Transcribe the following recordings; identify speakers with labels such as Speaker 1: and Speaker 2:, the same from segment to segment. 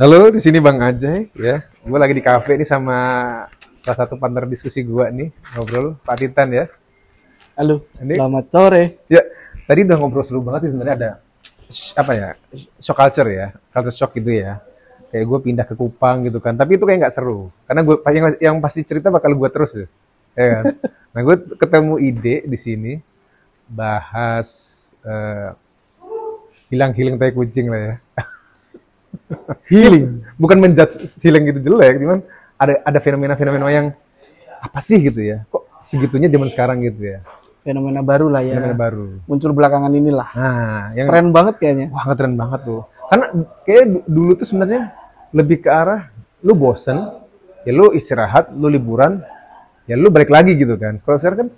Speaker 1: Halo, di sini Bang Ajay ya. Gue lagi di kafe nih sama salah satu partner diskusi gua nih ngobrol Pak Titan ya.
Speaker 2: Halo,
Speaker 1: Ini-
Speaker 2: selamat sore.
Speaker 1: Ya, tadi udah ngobrol seru banget sih sebenarnya ada sh- apa ya shock culture ya, culture shock gitu ya. Kayak gue pindah ke Kupang gitu kan, tapi itu kayak nggak seru. Karena gue yang, yang pasti cerita bakal gue terus ya. ya kan? nah gue ketemu ide di sini bahas eh, hilang hilang tai kucing lah ya.
Speaker 2: Healing.
Speaker 1: bukan menjudge healing gitu jelek, cuman ada ada fenomena-fenomena yang apa sih gitu ya? Kok segitunya zaman sekarang gitu ya?
Speaker 2: Fenomena baru lah ya.
Speaker 1: Fenomena baru.
Speaker 2: Muncul belakangan inilah.
Speaker 1: Nah, yang
Speaker 2: Keren banget kayaknya.
Speaker 1: wah ngetren banget tuh. Karena kayak dulu tuh sebenarnya lebih ke arah lu bosen, ya lu istirahat, lu liburan, ya lu balik lagi gitu kan. Kalau sekarang kan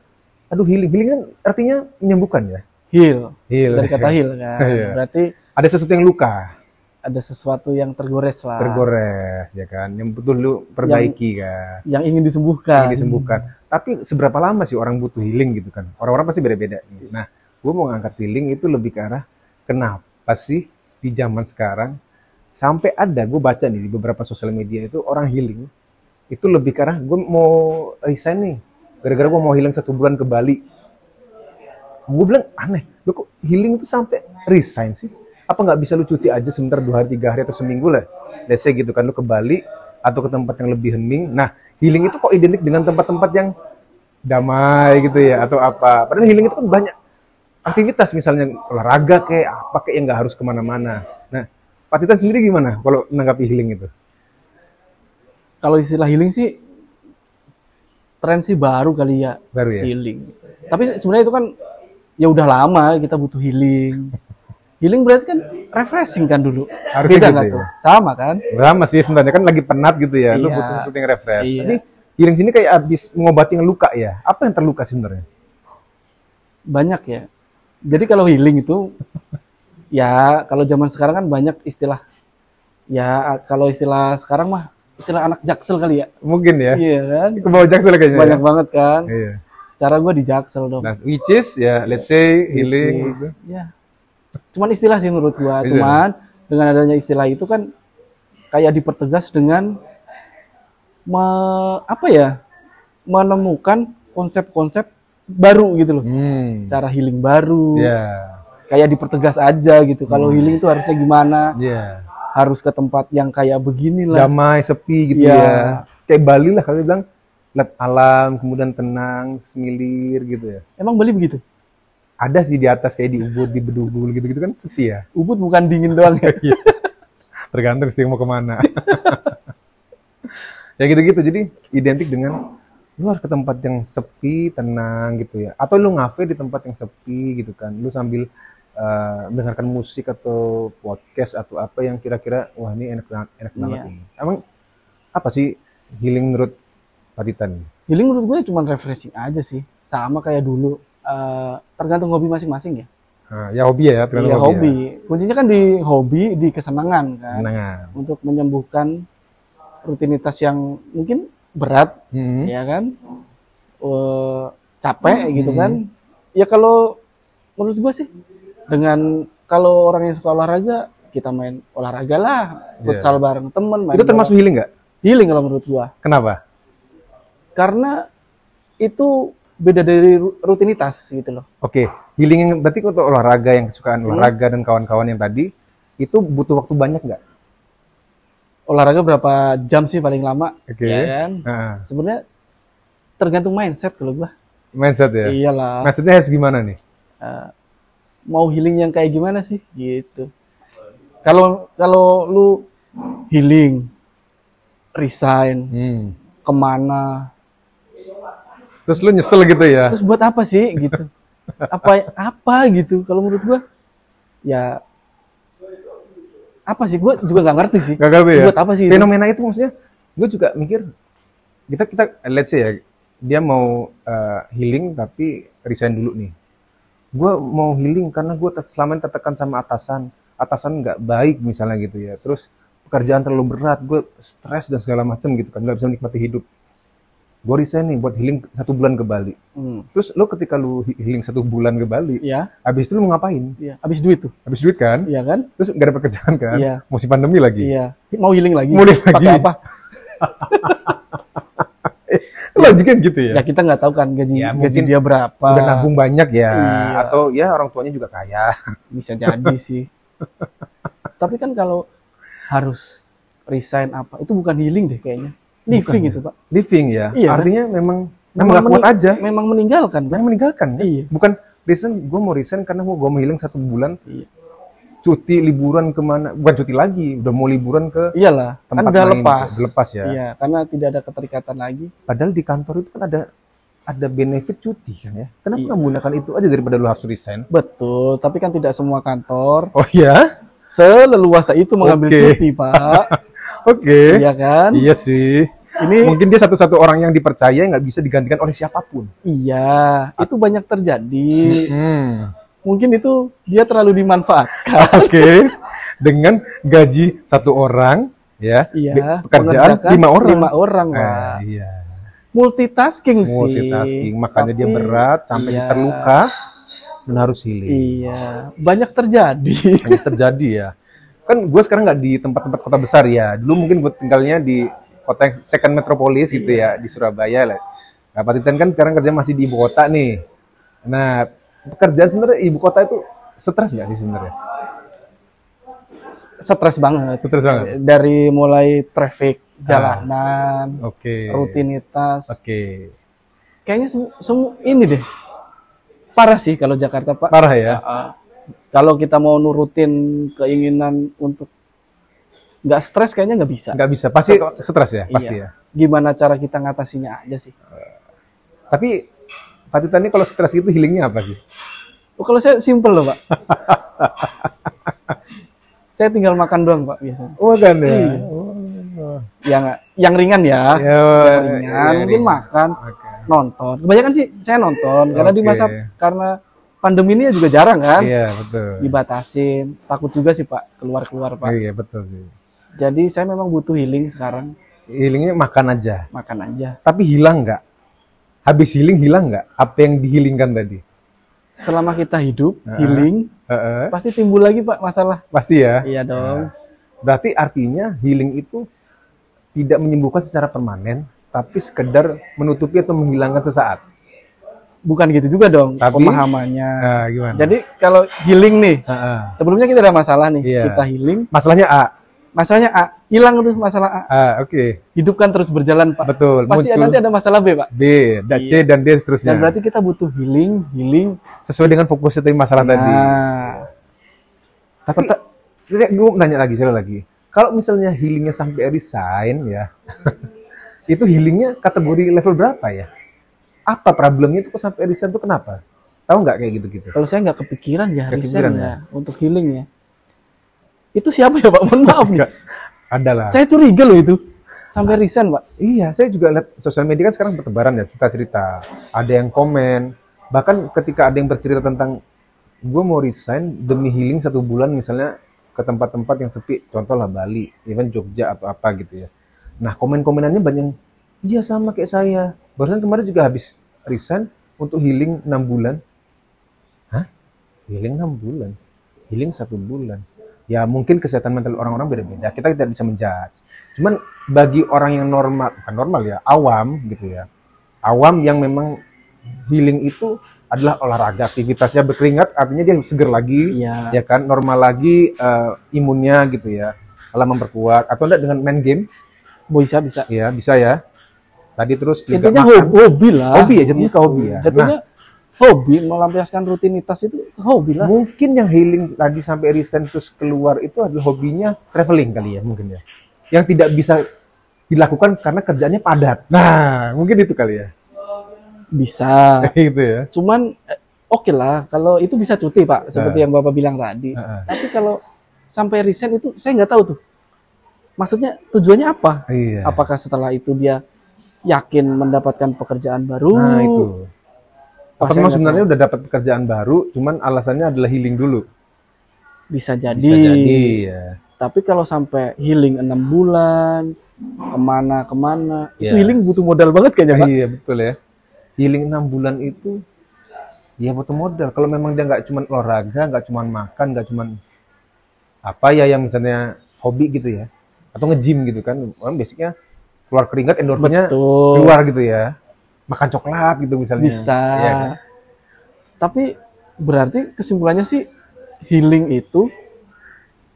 Speaker 1: aduh healing, healing kan artinya menyembuhkan ya.
Speaker 2: Heal.
Speaker 1: Heal.
Speaker 2: Dari kata heal kan.
Speaker 1: Iya.
Speaker 2: Berarti
Speaker 1: Ada sesuatu yang luka,
Speaker 2: ada sesuatu yang tergores lah.
Speaker 1: tergores ya kan, yang betul lu perbaiki kan.
Speaker 2: Yang ingin disembuhkan.
Speaker 1: yang Iya, disembuhkan. Tapi seberapa lama sih orang butuh healing gitu kan? Orang-orang pasti beda-beda. Nah, gue mau ngangkat healing itu lebih ke arah kenapa sih di zaman sekarang sampai ada gue baca nih di beberapa sosial media itu orang healing itu lebih ke arah gue mau resign nih gara-gara gue mau healing satu bulan ke Bali. Gue bilang aneh, lu kok healing itu sampai resign sih? Apa nggak bisa lu cuti aja sebentar dua hari tiga hari atau seminggu lah? Let's say gitu kan lu ke Bali atau ke tempat yang lebih hening. Nah, healing itu kok identik dengan tempat-tempat yang damai gitu ya atau apa? Padahal healing itu kan banyak aktivitas misalnya olahraga kayak apa kayak yang nggak harus kemana-mana. Nah, Pak Titan sendiri gimana kalau menanggapi healing itu?
Speaker 2: Kalau istilah healing sih tren sih baru kali ya.
Speaker 1: Baru ya?
Speaker 2: Healing. Tapi sebenarnya itu kan ya udah lama kita butuh healing. Healing berarti kan refreshing kan dulu.
Speaker 1: Harusnya
Speaker 2: Beda
Speaker 1: gitu
Speaker 2: nggak
Speaker 1: ya.
Speaker 2: tuh? Sama kan?
Speaker 1: Lama sih sebenarnya kan lagi penat gitu ya, lu
Speaker 2: Iya.
Speaker 1: butuh sesuatu yang refresh.
Speaker 2: Iya.
Speaker 1: Tapi healing sini kayak abis mengobati yang luka ya. Apa yang terluka sebenarnya?
Speaker 2: banyak ya. Jadi kalau healing itu ya kalau zaman sekarang kan banyak istilah ya kalau istilah sekarang mah istilah anak jaksel kali ya.
Speaker 1: Mungkin ya.
Speaker 2: Iya kan?
Speaker 1: Ke bawah jaksel kayaknya.
Speaker 2: Banyak banget kan.
Speaker 1: Ya? Iya.
Speaker 2: Secara gua di jaksel dong.
Speaker 1: Nah, which is ya let's say healing gitu.
Speaker 2: Which is- Ya. Cuman istilah sih menurut
Speaker 1: Iya.
Speaker 2: gua. Cuman dengan adanya istilah itu kan kayak dipertegas dengan me- apa ya? menemukan konsep-konsep baru gitu loh.
Speaker 1: Hmm.
Speaker 2: Cara healing baru.
Speaker 1: Ya.
Speaker 2: kayak dipertegas aja gitu. Kalau
Speaker 1: Hmm.
Speaker 2: healing tuh harusnya gimana?
Speaker 1: Ya.
Speaker 2: Harus ke tempat yang kayak begini lah.
Speaker 1: damai, sepi gitu
Speaker 2: Iya.
Speaker 1: ya. Kayak Bali lah kalau bilang lihat alam, kemudian tenang, semilir gitu ya.
Speaker 2: Emang Bali begitu?
Speaker 1: Ada sih di atas kayak di Ubud, di Bedugul gitu-gitu kan sepi ya.
Speaker 2: Ubud bukan dingin doang ya?
Speaker 1: Iya. Tergantung sih mau kemana. ya gitu-gitu. Jadi identik dengan lu harus ke tempat yang sepi, tenang gitu ya. Atau lu ngafe di tempat yang sepi gitu kan. Lu sambil eh, mendengarkan musik atau podcast atau apa yang kira-kira wah ini enak banget, enak banget
Speaker 2: Iya.
Speaker 1: ini. Emang apa sih healing menurut Pak Titan?
Speaker 2: healing menurut gue cuma refreshing aja sih. Sama kayak dulu. Eh, tergantung hobi masing-masing ya.
Speaker 1: Ah, ya hobi ya, tergantung
Speaker 2: Iya
Speaker 1: hobi. ya. Nah.
Speaker 2: hobi. Kuncinya kan di hobi, di kesenangan kan.
Speaker 1: Kesenangan.
Speaker 2: Untuk menyembuhkan rutinitas yang mungkin berat
Speaker 1: Hmm.
Speaker 2: ya kan Eh, capek gitu
Speaker 1: Hmm.
Speaker 2: kan ya kalau menurut gua sih dengan kalau orang yang suka olahraga kita main olahraga lah futsal bareng temen main
Speaker 1: Iya. Itu termasuk healing nggak?
Speaker 2: bola. healing kalau menurut gua
Speaker 1: Kenapa?
Speaker 2: karena itu beda dari ru- rutinitas gitu loh
Speaker 1: Oke, healing yang berarti untuk olahraga yang kesukaan olahraga dan kawan-kawan yang tadi itu butuh waktu banyak nggak?
Speaker 2: olahraga berapa jam sih paling lama
Speaker 1: Oke.
Speaker 2: ya kan
Speaker 1: Ah,
Speaker 2: sebenarnya tergantung mindset kalau gua
Speaker 1: mindset ya.
Speaker 2: iyalah
Speaker 1: Mindsetnya harus gimana nih?
Speaker 2: Eh, mau healing yang kayak gimana sih gitu kalau kalau lu healing resign
Speaker 1: Hmm.
Speaker 2: kemana
Speaker 1: Terus lu nyesel gitu ya?
Speaker 2: terus buat apa sih gitu apa apa gitu kalau menurut gua ya apa sih gua juga nggak ngerti sih
Speaker 1: Gak ngerti ya?
Speaker 2: buat apa sih itu?
Speaker 1: Fenomena itu maksudnya, gue juga mikir kita kita let's say ya dia mau eh, healing tapi resign dulu nih. Gue mau healing karena gue selama ini tertekan sama atasan, atasan nggak baik misalnya gitu ya. Terus pekerjaan terlalu berat, gue stres dan segala macam gitu kan, nggak bisa menikmati hidup. gue resign nih buat healing satu bulan ke Bali.
Speaker 2: Hmm.
Speaker 1: Terus lo ketika lo he- healing satu bulan ke Bali,
Speaker 2: Ya,
Speaker 1: habis itu lo mau ngapain?
Speaker 2: ya. Abis duit tuh,
Speaker 1: Habis duit kan?
Speaker 2: iya kan?
Speaker 1: Terus nggak ada pekerjaan kan?
Speaker 2: Iya,
Speaker 1: Musim pandemi lagi.
Speaker 2: iya. Mau healing lagi?
Speaker 1: Mau healing lagi.
Speaker 2: Pakai apa?
Speaker 1: Logiknya gitu ya.
Speaker 2: Ya kita nggak tahu kan gaji
Speaker 1: Ya,
Speaker 2: gaji
Speaker 1: mungkin
Speaker 2: dia berapa.
Speaker 1: Udah nabung banyak ya.
Speaker 2: Iya.
Speaker 1: Atau ya orang tuanya juga kaya.
Speaker 2: Bisa jadi sih. Tapi kan kalau harus resign apa, itu bukan healing deh kayaknya.
Speaker 1: Bukan
Speaker 2: Living itu, Pak.
Speaker 1: Living ya.
Speaker 2: Iya.
Speaker 1: Artinya memang memang nggak kuat
Speaker 2: mening-
Speaker 1: aja.
Speaker 2: Memang meninggalkan kan?
Speaker 1: Memang meninggalkan ya.
Speaker 2: Iya.
Speaker 1: Bukan resign, gue mau resign karena mau gue mau healing satu bulan.
Speaker 2: Iya.
Speaker 1: Cuti liburan kemana? Bukan cuti lagi, udah mau liburan ke
Speaker 2: Iyalah, kan
Speaker 1: tempat
Speaker 2: udah
Speaker 1: lain,
Speaker 2: lepas.
Speaker 1: udah lepas ya.
Speaker 2: Iya, karena tidak ada keterikatan lagi.
Speaker 1: Padahal di kantor itu kan ada ada benefit cuti kan ya. Kenapa
Speaker 2: Iya.
Speaker 1: nggak menggunakan itu aja daripada lu harus resign?
Speaker 2: Betul, tapi kan tidak semua kantor
Speaker 1: Oh ya,
Speaker 2: seleluasa itu mengambil
Speaker 1: Oke.
Speaker 2: cuti, Pak.
Speaker 1: oke.
Speaker 2: Iya kan?
Speaker 1: Iya sih.
Speaker 2: Ini
Speaker 1: Mungkin dia satu-satu orang yang dipercaya nggak bisa digantikan oleh siapapun.
Speaker 2: iya, itu banyak terjadi.
Speaker 1: Hmm.
Speaker 2: Mungkin itu dia terlalu dimanfaatkan.
Speaker 1: Oke. Dengan gaji satu orang, ya.
Speaker 2: Iya,
Speaker 1: Di- pekerjaan
Speaker 2: mengerjakan
Speaker 1: lima orang.
Speaker 2: Lima orang, Pak.
Speaker 1: Ah, iya.
Speaker 2: Multitasking, sih.
Speaker 1: Multitasking. Makanya dia
Speaker 2: Tapi-
Speaker 1: berat sampai
Speaker 2: iya.
Speaker 1: terluka. Dan harus healing.
Speaker 2: Iya, banyak terjadi.
Speaker 1: Ini terjadi ya. Kan gue sekarang nggak di tempat-tempat kota besar ya. Dulu mungkin gue tinggalnya di kota yang second metropolis gitu ya di Surabaya lah. Nah, Pak Titan kan sekarang kerja masih di ibu kota nih. Nah, pekerjaan sebenarnya ibu kota itu stres nggak sih sebenarnya?
Speaker 2: Stres banget.
Speaker 1: Stres banget.
Speaker 2: Dari mulai traffic, jalanan,
Speaker 1: Ah. Oke.
Speaker 2: rutinitas,
Speaker 1: Oke.
Speaker 2: kayaknya semua ini deh parah sih kalau Jakarta Pak.
Speaker 1: Parah ya.
Speaker 2: Ah, kalau kita mau nurutin keinginan untuk nggak stres kayaknya nggak bisa.
Speaker 1: Nggak bisa. Pasti
Speaker 2: Stres.
Speaker 1: stres ya. Pasti ya.
Speaker 2: Gimana cara kita ngatasinnya aja sih?
Speaker 1: Tapi Pak Titan ini kalau stres itu healingnya apa sih?
Speaker 2: Oh, kalau saya simple loh Pak. saya tinggal makan doang Pak biasanya.
Speaker 1: Oh kan ya.
Speaker 2: Iya.
Speaker 1: Oh.
Speaker 2: Yang yang ringan ya.
Speaker 1: Ya,
Speaker 2: yang
Speaker 1: iya,
Speaker 2: ringan, mungkin
Speaker 1: ringan.
Speaker 2: makan,
Speaker 1: Oke.
Speaker 2: nonton. Kebanyakan sih saya nonton karena di
Speaker 1: Oke.
Speaker 2: masa karena pandemi ini juga jarang kan.
Speaker 1: Iya betul.
Speaker 2: Dibatasin. Takut juga sih Pak keluar-keluar Pak.
Speaker 1: Iya betul sih.
Speaker 2: Jadi saya memang butuh healing sekarang.
Speaker 1: Healingnya makan aja.
Speaker 2: Makan aja.
Speaker 1: tapi hilang nggak? Habis healing hilang nggak? Apa yang dihilingkan tadi?
Speaker 2: Selama kita hidup,
Speaker 1: Heeh.
Speaker 2: healing,
Speaker 1: Heeh,
Speaker 2: pasti timbul lagi Pak masalah.
Speaker 1: pasti ya.
Speaker 2: Iya dong.
Speaker 1: Berarti artinya healing itu tidak menyembuhkan secara permanen, tapi sekedar menutupi atau menghilangkan sesaat.
Speaker 2: Bukan gitu juga dong
Speaker 1: Tapi-
Speaker 2: pemahamannya.
Speaker 1: Nah, gimana? Jadi,
Speaker 2: Jadi kalau healing nih,
Speaker 1: Heeh.
Speaker 2: sebelumnya kita ada masalah nih,
Speaker 1: Iya.
Speaker 2: kita healing.
Speaker 1: masalahnya A.
Speaker 2: Masalahnya A, hilang tuh masalah A.
Speaker 1: A, Oke,
Speaker 2: Hidupkan terus berjalan Pak.
Speaker 1: betul.
Speaker 2: Pasti
Speaker 1: Muncul
Speaker 2: nanti ada masalah B Pak.
Speaker 1: B, dan C dan D seterusnya.
Speaker 2: Dan berarti kita butuh healing, healing.
Speaker 1: Sesuai dengan fokusnya tadi masalah tadi.
Speaker 2: Nah,
Speaker 1: Tapi saya gue nanya lagi, saya lagi. Kalau misalnya healingnya sampai resign ya, itu healingnya kategori level berapa ya? Apa problemnya itu kok sampai resign itu kenapa? Tahu nggak kayak gitu-gitu?
Speaker 2: kalau saya nggak kepikiran ya,
Speaker 1: Nggak
Speaker 2: resign
Speaker 1: kepikiran
Speaker 2: ya, untuk healing ya. Itu siapa ya Pak? Mohon maaf nih.
Speaker 1: Adalah.
Speaker 2: Saya curiga loh itu. Sampai resign, Pak.
Speaker 1: Iya, saya juga lihat sosial media kan sekarang bertebaran ya cerita-cerita. Ada yang komen, bahkan ketika ada yang bercerita tentang gue mau resign demi healing satu bulan misalnya ke tempat-tempat yang sepi, contoh lah Bali, even Jogja atau apa gitu ya. Nah komen-komenannya banyak, iya sama kayak saya. Barusan kemarin juga habis resign untuk healing enam bulan. Hah? Healing enam bulan? Healing satu bulan? Ya mungkin kesehatan mental orang-orang beda-beda, kita tidak bisa menjudge. Cuman bagi orang yang normal, bukan normal ya, awam gitu ya. Awam yang memang healing itu adalah olahraga, aktivitasnya berkeringat, artinya dia seger lagi,
Speaker 2: Iya.
Speaker 1: ya kan, normal lagi eh, imunnya gitu ya, malah memperkuat. Atau enggak dengan main game,
Speaker 2: Bisa bisa.
Speaker 1: ya bisa ya. Tadi terus juga
Speaker 2: Intinya
Speaker 1: makan.
Speaker 2: hobi, hobi lah.
Speaker 1: Hobi ya, jadinya ke hobi ya.
Speaker 2: Jadinya hobi melampiaskan rutinitas itu hobi lah.
Speaker 1: Mungkin yang healing tadi sampai resign terus keluar itu adalah hobinya traveling kali ya mungkin ya. Yang tidak bisa dilakukan karena kerjanya padat. Nah, mungkin itu kali ya.
Speaker 2: Bisa.
Speaker 1: gitu ya.
Speaker 2: Cuman eh, oke lah kalau itu bisa cuti, Pak, seperti
Speaker 1: Nah.
Speaker 2: yang Bapak bilang tadi.
Speaker 1: Heeh.
Speaker 2: Tapi kalau sampai resign itu saya nggak tahu tuh. Maksudnya tujuannya apa?
Speaker 1: Iya.
Speaker 2: Apakah setelah itu dia yakin mendapatkan pekerjaan baru?
Speaker 1: Nah, itu.
Speaker 2: Wah,
Speaker 1: Apa
Speaker 2: saya
Speaker 1: memang
Speaker 2: nggak
Speaker 1: sebenarnya udah dapat pekerjaan baru, cuman alasannya adalah healing dulu.
Speaker 2: Bisa jadi.
Speaker 1: Bisa jadi ya.
Speaker 2: Tapi kalau sampai healing enam bulan, kemana kemana, itu
Speaker 1: Iya.
Speaker 2: healing butuh modal banget kayaknya, Pak.
Speaker 1: iya betul ya. Healing enam bulan itu ya butuh modal. Kalau memang dia nggak cuman olahraga, nggak cuman makan, nggak cuman apa ya yang misalnya hobi gitu ya, atau nge-gym gitu kan. Orang basicnya keluar keringat endorfinnya
Speaker 2: Betul.
Speaker 1: Iya, keluar gitu ya. Makan coklat gitu misalnya.
Speaker 2: Bisa.
Speaker 1: Iya kan?
Speaker 2: Tapi berarti kesimpulannya sih healing itu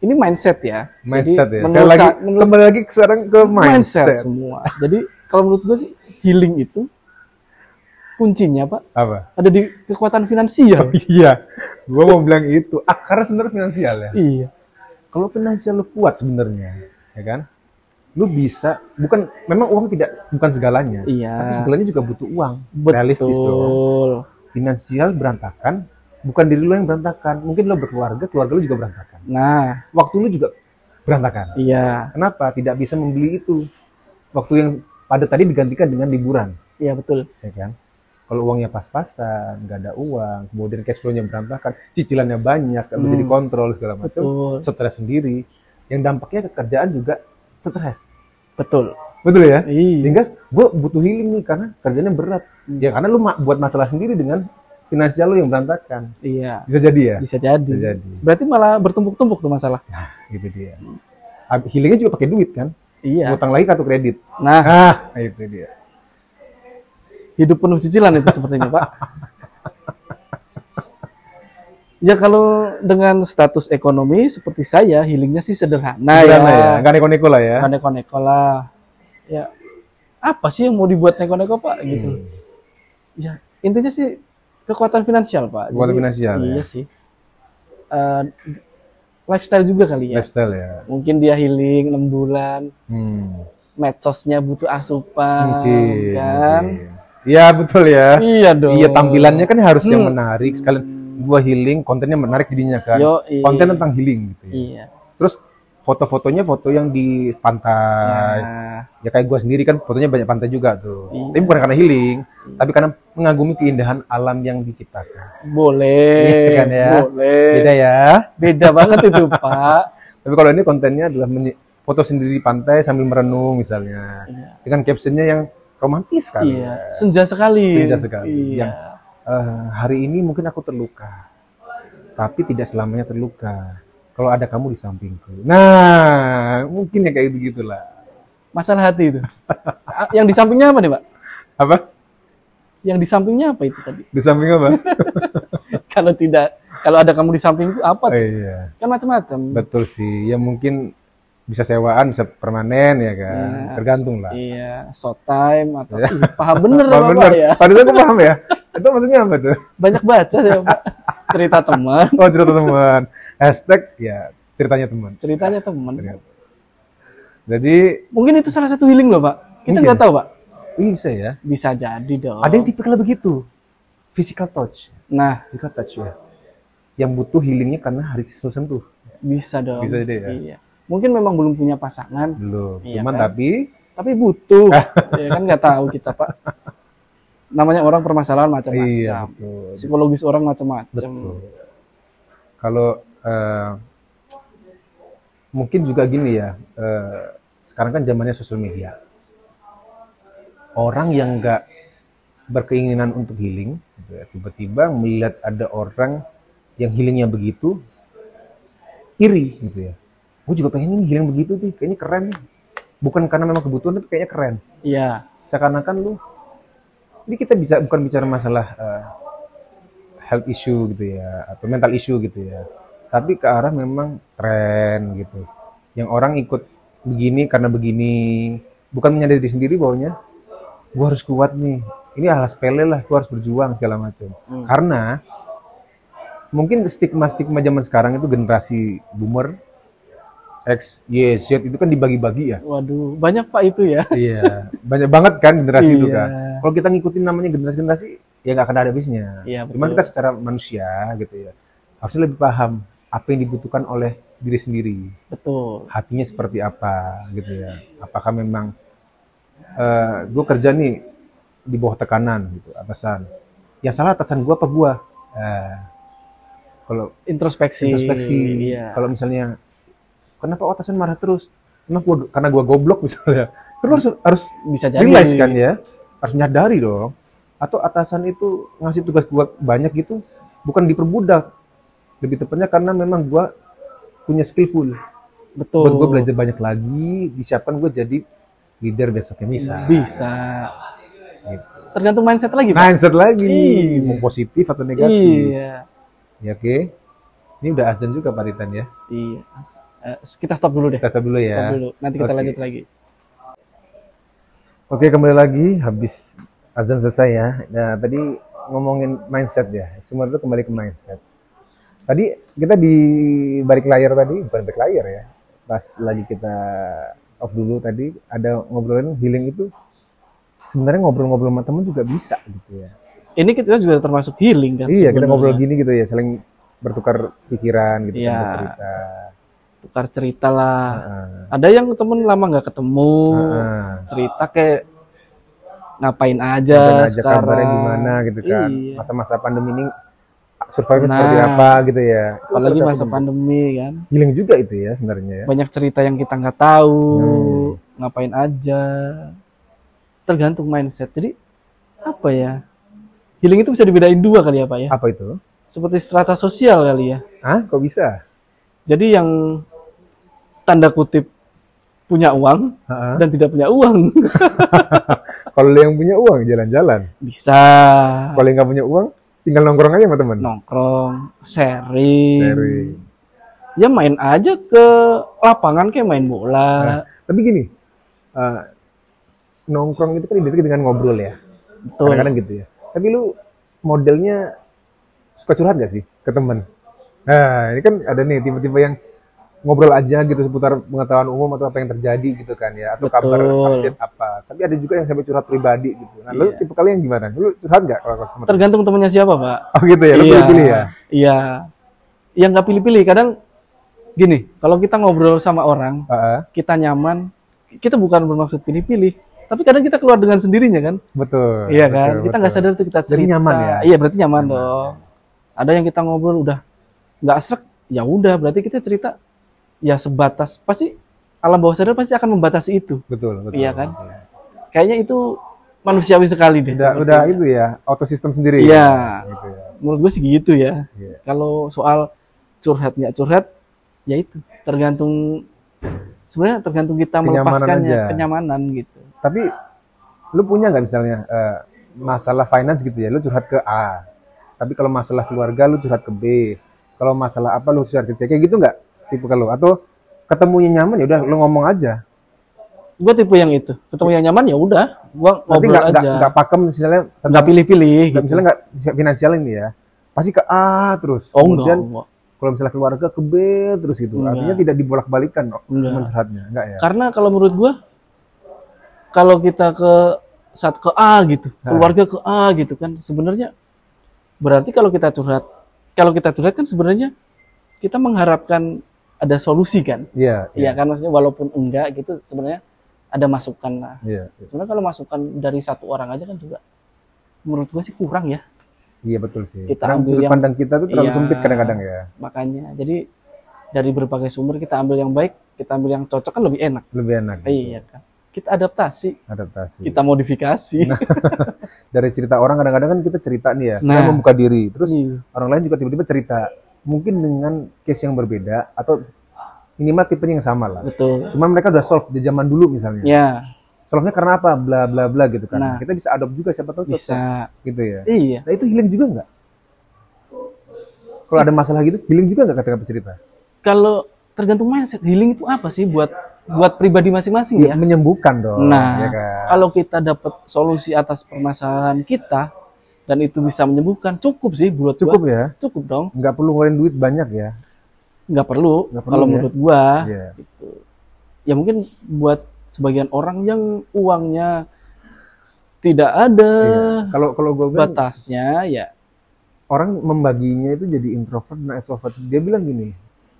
Speaker 2: ini mindset ya.
Speaker 1: Mindset
Speaker 2: Jadi,
Speaker 1: ya. Saya
Speaker 2: menurut
Speaker 1: lagi
Speaker 2: sa- menurut-
Speaker 1: kembali lagi sekarang ke
Speaker 2: mindset,
Speaker 1: mindset.
Speaker 2: semua. Jadi kalau menurut gue sih, healing itu kuncinya Pak
Speaker 1: Apa?
Speaker 2: ada di kekuatan finansial.
Speaker 1: Iya, gua mau bilang itu. Akar sebenarnya finansial ya.
Speaker 2: iya.
Speaker 1: Kalau finansial lu kuat sebenarnya, ya kan? Lu bisa, bukan memang uang tidak bukan segalanya.
Speaker 2: Iya.
Speaker 1: Tapi segalanya juga butuh uang. Realistis dong.
Speaker 2: Betul.
Speaker 1: Finansial berantakan, bukan diri lu yang berantakan. Mungkin lu berkeluarga, keluarga lu juga berantakan.
Speaker 2: Nah,
Speaker 1: Waktu lu juga berantakan.
Speaker 2: iya.
Speaker 1: Kenapa? Tidak bisa membeli itu. Waktu yang padat tadi digantikan dengan liburan,
Speaker 2: Iya betul.
Speaker 1: ya kan? Kalau uangnya pas-pasan, nggak ada uang, kemudian cash flow-nya berantakan, cicilannya banyak, nggak bisa
Speaker 2: Hmm.
Speaker 1: dikontrol segala macam.
Speaker 2: Betul.
Speaker 1: stres sendiri yang dampaknya ke kerjaan juga stres
Speaker 2: Betul.
Speaker 1: betul ya
Speaker 2: Iya.
Speaker 1: sehingga gue butuh healing nih karena kerjanya berat
Speaker 2: Hmm.
Speaker 1: ya karena lu ma- buat masalah sendiri dengan finansial lu yang berantakan
Speaker 2: Iya.
Speaker 1: bisa jadi ya
Speaker 2: Bisa jadi.
Speaker 1: bisa jadi
Speaker 2: Berarti malah bertumpuk-tumpuk tuh masalah.
Speaker 1: gitu dia Ab- healingnya juga pakai duit kan
Speaker 2: Iya.
Speaker 1: utang lagi kartu kredit
Speaker 2: Nah,
Speaker 1: ah itu dia
Speaker 2: hidup penuh cicilan itu sepertinya pak ya kalau dengan status ekonomi seperti saya healingnya sih sederhana ya, Nah,
Speaker 1: Sederhana ya nggak neko-neko lah ya
Speaker 2: Nggak neko-neko lah ya apa sih yang mau dibuat neko-neko pak gitu
Speaker 1: Hmm.
Speaker 2: ya intinya sih kekuatan finansial pak
Speaker 1: Kekuatan
Speaker 2: Jadi,
Speaker 1: finansial, ya.
Speaker 2: iya sih Eh, lifestyle juga kali ya
Speaker 1: lifestyle ya
Speaker 2: mungkin dia healing enam bulan
Speaker 1: hmm.
Speaker 2: medsosnya butuh asupan
Speaker 1: mungkin
Speaker 2: Nah, kan
Speaker 1: mungkin. ya betul ya
Speaker 2: iya dong
Speaker 1: Iya tampilannya kan harus yang
Speaker 2: Hmm.
Speaker 1: menarik sekali. Gua healing, kontennya menarik jadinya kan.
Speaker 2: Yoi.
Speaker 1: Konten tentang healing gitu. Ya.
Speaker 2: iya
Speaker 1: Terus foto-fotonya foto yang di pantai.
Speaker 2: Nah,
Speaker 1: Ya kayak gua sendiri kan fotonya banyak pantai juga tuh.
Speaker 2: Iya.
Speaker 1: Tapi bukan karena healing, tapi karena mengagumi keindahan alam yang diciptakan.
Speaker 2: boleh,
Speaker 1: Iya kan ya?
Speaker 2: boleh. Beda.
Speaker 1: Beda ya.
Speaker 2: banget itu Pak.
Speaker 1: Tapi kalau ini kontennya adalah menye- foto sendiri di pantai sambil merenung misalnya.
Speaker 2: Iya.
Speaker 1: Dengan captionnya yang romantis kan.
Speaker 2: Iya, senja sekali.
Speaker 1: Senja sekali.
Speaker 2: Iya.
Speaker 1: Yang- Eh, hari ini mungkin aku terluka, tapi tidak selamanya terluka. Kalau ada kamu di sampingku. Nah, mungkin ya kayak begitulah.
Speaker 2: Masalah hati itu. A- Yang di sampingnya apa nih Pak?
Speaker 1: Apa?
Speaker 2: Yang di sampingnya apa itu tadi?
Speaker 1: Di samping apa?
Speaker 2: Kalau tidak, kalau ada kamu di sampingku
Speaker 1: Oh,
Speaker 2: apa?
Speaker 1: iya,
Speaker 2: Kan macam-macam.
Speaker 1: betul sih. Ya mungkin bisa sewaan, bisa permanen ya kan.
Speaker 2: Iya.
Speaker 1: Tergantung lah.
Speaker 2: Iya, short time atau
Speaker 1: Iya.
Speaker 2: Ih, paham bener
Speaker 1: Paham
Speaker 2: Bapak
Speaker 1: benar.
Speaker 2: ya.
Speaker 1: Padahal aku paham ya. Itu maksudnya apa tuh?
Speaker 2: Banyak baca ya Pak. Cerita teman,
Speaker 1: Oh, cerita teman. Hashtag ya ceritanya teman.
Speaker 2: ceritanya teman.
Speaker 1: Ternyata. Jadi,
Speaker 2: Mungkin itu salah satu healing loh Pak. Kita
Speaker 1: Mungkin.
Speaker 2: nggak tahu Pak.
Speaker 1: ini bisa ya.
Speaker 2: Bisa jadi dong.
Speaker 1: Ada yang tipikal begitu. Physical touch.
Speaker 2: Nah,
Speaker 1: Physical touch ya. Yang butuh healingnya karena hari sentuh sentuh.
Speaker 2: Bisa dong.
Speaker 1: Bisa jadi ya?
Speaker 2: Iya. Mungkin memang belum punya pasangan,
Speaker 1: Belum.
Speaker 2: Iya
Speaker 1: Cuman
Speaker 2: kan?
Speaker 1: tapi
Speaker 2: tapi butuh. ya kan nggak tahu kita pak. Namanya orang permasalahan
Speaker 1: iya
Speaker 2: macam-macam.
Speaker 1: betul.
Speaker 2: Psikologis orang macam-macam.
Speaker 1: Betul. Kalau eh, mungkin juga gini ya. eh, sekarang kan zamannya sosial media. Orang yang nggak berkeinginan untuk healing, gitu ya, tiba-tiba melihat ada orang yang healingnya begitu, iri gitu ya. Gue juga pengen nih healing begitu sih, kayaknya keren. nih. Bukan karena memang kebutuhan, tapi kayaknya keren.
Speaker 2: Iya.
Speaker 1: seakan-akan lu ini kita bisa bukan bicara masalah eh, health issue gitu ya atau mental issue gitu ya tapi ke arah memang tren gitu yang orang ikut begini karena begini bukan menyadari diri sendiri bahwanya gua harus kuat nih ini alas pele lah gua harus berjuang segala macam
Speaker 2: Hmm.
Speaker 1: karena mungkin stigma-stigma zaman sekarang itu generasi boomer X, Y, Z itu kan dibagi-bagi ya
Speaker 2: Waduh, banyak pak itu ya.
Speaker 1: Iya, banyak banget kan generasi itu
Speaker 2: Iya.
Speaker 1: kan. Kalau kita ngikutin namanya generasi-generasi, ya nggak akan ada habisnya.
Speaker 2: Iya, betul.
Speaker 1: Cuman kita secara manusia gitu ya, harusnya lebih paham apa yang dibutuhkan oleh diri sendiri,
Speaker 2: Betul.
Speaker 1: hatinya seperti apa gitu ya. Apakah memang gue kerja nih di bawah tekanan gitu, atasan. Yang salah atasan gue apa gue? kalau
Speaker 2: Introspeksi.
Speaker 1: introspeksi,
Speaker 2: Iya.
Speaker 1: kalau misalnya kenapa atasan marah terus? Karena gua, karena gua goblok misalnya. Terus harus
Speaker 2: bisa jadi
Speaker 1: realize kan ya, harus nyadari dong. Atau atasan itu ngasih tugas gua banyak gitu, bukan diperbudak. Lebih tepatnya karena memang gua punya skillful.
Speaker 2: betul
Speaker 1: Buat gua belajar banyak lagi, disiapkan gua jadi leader besoknya misal.
Speaker 2: bisa
Speaker 1: Gitu.
Speaker 2: tergantung mindset lagi Pak.
Speaker 1: Mindset lagi,
Speaker 2: Iya.
Speaker 1: mau positif atau negatif.
Speaker 2: iya
Speaker 1: Ya oke. Ini udah azan juga Pak Ritan ya.
Speaker 2: iya Eh, kita stop dulu deh
Speaker 1: Kita stop dulu ya.
Speaker 2: stop dulu nanti kita
Speaker 1: Oke.
Speaker 2: lanjut lagi
Speaker 1: Oke, kembali lagi habis azan selesai ya. Nah, tadi ngomongin mindset ya. Semua itu kembali ke mindset. Tadi kita di balik layar tadi, bukan balik layar ya. Pas lagi kita off dulu tadi ada ngobrolin healing itu sebenarnya ngobrol-ngobrol sama temen juga bisa gitu ya.
Speaker 2: ini kita juga termasuk healing kan
Speaker 1: iya, kita
Speaker 2: sebenarnya.
Speaker 1: ngobrol gini gitu ya, saling bertukar pikiran gitu
Speaker 2: Iya.
Speaker 1: kan bercerita.
Speaker 2: tukar cerita lah
Speaker 1: Heeh.
Speaker 2: ada yang temen lama nggak ketemu
Speaker 1: Ah, Heeh.
Speaker 2: cerita kayak ngapain aja
Speaker 1: Bukan aja
Speaker 2: Iya, sekarang
Speaker 1: kabarnya gimana gitu kan.
Speaker 2: Iya.
Speaker 1: Masa-masa pandemi ini survival
Speaker 2: Nah.
Speaker 1: seperti apa gitu ya. Itu
Speaker 2: apalagi
Speaker 1: salah
Speaker 2: masa
Speaker 1: satu
Speaker 2: pandemi kan
Speaker 1: Healing juga itu ya sebenarnya ya.
Speaker 2: banyak cerita yang kita nggak tahu
Speaker 1: Hmm.
Speaker 2: ngapain aja tergantung mindset jadi apa ya healing itu bisa dibedain dua kali ya pak ya
Speaker 1: Apa itu?
Speaker 2: seperti strata sosial kali ya
Speaker 1: Hah? Kok bisa?
Speaker 2: jadi yang tanda kutip punya uang
Speaker 1: Ha-ha.
Speaker 2: dan tidak punya uang
Speaker 1: Kalau lu yang punya uang jalan-jalan.
Speaker 2: bisa
Speaker 1: Kalau yang nggak punya uang tinggal nongkrong aja sama
Speaker 2: Nah.
Speaker 1: temen.
Speaker 2: nongkrong sharing,
Speaker 1: Sharing.
Speaker 2: ya main aja ke lapangan kayak main bola
Speaker 1: Tapi gini, eh, nongkrong itu kan identik dengan ngobrol ya.
Speaker 2: betul
Speaker 1: Kadang-kadang gitu ya. Tapi lu modelnya suka curhat gak sih ke temen? Nah, ini kan ada nih tiba-tiba yang ngobrol aja gitu seputar pengetahuan umum atau apa yang terjadi gitu kan ya atau kabar
Speaker 2: Betul.
Speaker 1: update apa. Tapi ada juga yang sampai curhat pribadi gitu. Nah, lu
Speaker 2: Iya.
Speaker 1: tipe kalian gimana? Lu curhat gak kalau sama temen?
Speaker 2: tergantung temennya siapa pak
Speaker 1: Oh gitu ya, lu
Speaker 2: Iya,
Speaker 1: pilih ya.
Speaker 2: Iya. Yang nggak pilih-pilih kadang gini, kalau kita ngobrol sama orang,
Speaker 1: Heeh,
Speaker 2: kita nyaman, kita bukan bermaksud pilih-pilih, tapi kadang kita keluar dengan sendirinya kan?
Speaker 1: betul.
Speaker 2: iya
Speaker 1: betul,
Speaker 2: kan? kita nggak
Speaker 1: betul.
Speaker 2: sadar tuh kita
Speaker 1: Jadi
Speaker 2: cerita.
Speaker 1: nyaman ya?
Speaker 2: Iya, berarti nyaman, dong. Ada yang kita ngobrol udah nggak srek, ya udah berarti kita cerita ya sebatas pasti alam bawah sadar pasti akan membatasi itu.
Speaker 1: Betul, betul.
Speaker 2: Iya kan?
Speaker 1: betul.
Speaker 2: Kayaknya itu manusiawi sekali deh.
Speaker 1: Udah,
Speaker 2: sepertinya.
Speaker 1: udah itu ya, auto sistem sendiri.
Speaker 2: Iya.
Speaker 1: Gitu ya.
Speaker 2: menurut gue sih gitu ya.
Speaker 1: Iya.
Speaker 2: Kalau soal curhat nggak curhat, ya itu tergantung sebenarnya tergantung kita
Speaker 1: Kenyamanan
Speaker 2: melepaskannya
Speaker 1: aja.
Speaker 2: kenyamanan gitu.
Speaker 1: Tapi lu punya nggak misalnya eh, masalah finance gitu ya, lu curhat ke A. Tapi kalau masalah keluarga lu curhat ke B. Kalau masalah apa lu curhat ke C. Kayak gitu nggak? Tipe kalau atau ketemunya nyaman ya udah lu ngomong aja.
Speaker 2: Gue tipe yang itu. Ketemu yang nyaman ya udah, gue
Speaker 1: Tapi
Speaker 2: ngobrol
Speaker 1: nggak nggak
Speaker 2: aja.
Speaker 1: nggak pakem misalnya
Speaker 2: Nggak pilih-pilih.
Speaker 1: nggak-
Speaker 2: Gitu.
Speaker 1: misalnya nggak finansial ini ya. Pasti ke A terus.
Speaker 2: Oh enggak,
Speaker 1: Kemudian
Speaker 2: enggak.
Speaker 1: kalau misalnya keluarga ke B terus gitu.
Speaker 2: Enggak.
Speaker 1: Artinya tidak dibolak-balikan kok
Speaker 2: Enggak. Kan-
Speaker 1: teman curhatnya. Enggak ya?
Speaker 2: Karena kalau menurut gue, kalau kita ke saat ke A gitu,
Speaker 1: Nah.
Speaker 2: keluarga ke A gitu kan, sebenarnya berarti kalau kita curhat, kalau kita curhat kan sebenarnya kita mengharapkan ada solusi kan.
Speaker 1: Iya.
Speaker 2: Iya kan maksudnya walaupun enggak gitu sebenarnya ada masukan lah.
Speaker 1: Iya. iya.
Speaker 2: Sebenarnya kalau masukan dari satu orang aja kan juga menurut gue sih kurang ya
Speaker 1: Iya betul sih.
Speaker 2: Kita
Speaker 1: Karena
Speaker 2: ambil
Speaker 1: sudut
Speaker 2: yang-
Speaker 1: pandang kita tuh terlalu
Speaker 2: Iya.
Speaker 1: sempit kadang-kadang ya.
Speaker 2: makanya. Jadi dari berbagai sumber kita ambil yang baik, kita ambil yang cocok kan lebih enak.
Speaker 1: Lebih enak. gitu.
Speaker 2: Iya kan. Kita adaptasi,
Speaker 1: Iya. adaptasi.
Speaker 2: kita modifikasi.
Speaker 1: Nah, Dari cerita orang kadang-kadang kan kita cerita nih ya, kita
Speaker 2: Nah.
Speaker 1: membuka diri. Terus
Speaker 2: Iya.
Speaker 1: orang lain juga tiba-tiba cerita, mungkin dengan case yang berbeda atau minimal tipenya yang sama lah.
Speaker 2: Betul.
Speaker 1: Cuman mereka udah solve di zaman dulu misalnya.
Speaker 2: Ya,
Speaker 1: Solve-nya karena apa? Bla bla bla gitu kan.
Speaker 2: Nah.
Speaker 1: Kita bisa adopt juga siapa tahu cocok
Speaker 2: bisa.
Speaker 1: gitu ya.
Speaker 2: Iya.
Speaker 1: Nah itu healing juga nggak? Kalau ada masalah gitu, healing juga nggak ketika bercerita?
Speaker 2: Kalau tergantung mindset healing itu apa sih buat buat pribadi masing-masing ya?
Speaker 1: Iya, menyembuhkan dong.
Speaker 2: Nah,
Speaker 1: ya kan?
Speaker 2: kalau kita dapat solusi atas permasalahan kita dan itu bisa menyembuhkan, cukup sih buat gua.
Speaker 1: Cukup ya,
Speaker 2: cukup dong
Speaker 1: nggak perlu ngeluarin duit banyak ya.
Speaker 2: nggak perlu,
Speaker 1: Nggak perlu,
Speaker 2: kalau
Speaker 1: ya?
Speaker 2: menurut gua
Speaker 1: Iya.
Speaker 2: gitu. ya mungkin buat sebagian orang yang uangnya tidak ada
Speaker 1: Iya. Kalau kalau gue bilang
Speaker 2: batasnya ya
Speaker 1: orang membaginya itu jadi introvert dan extrovert. Dia bilang gini,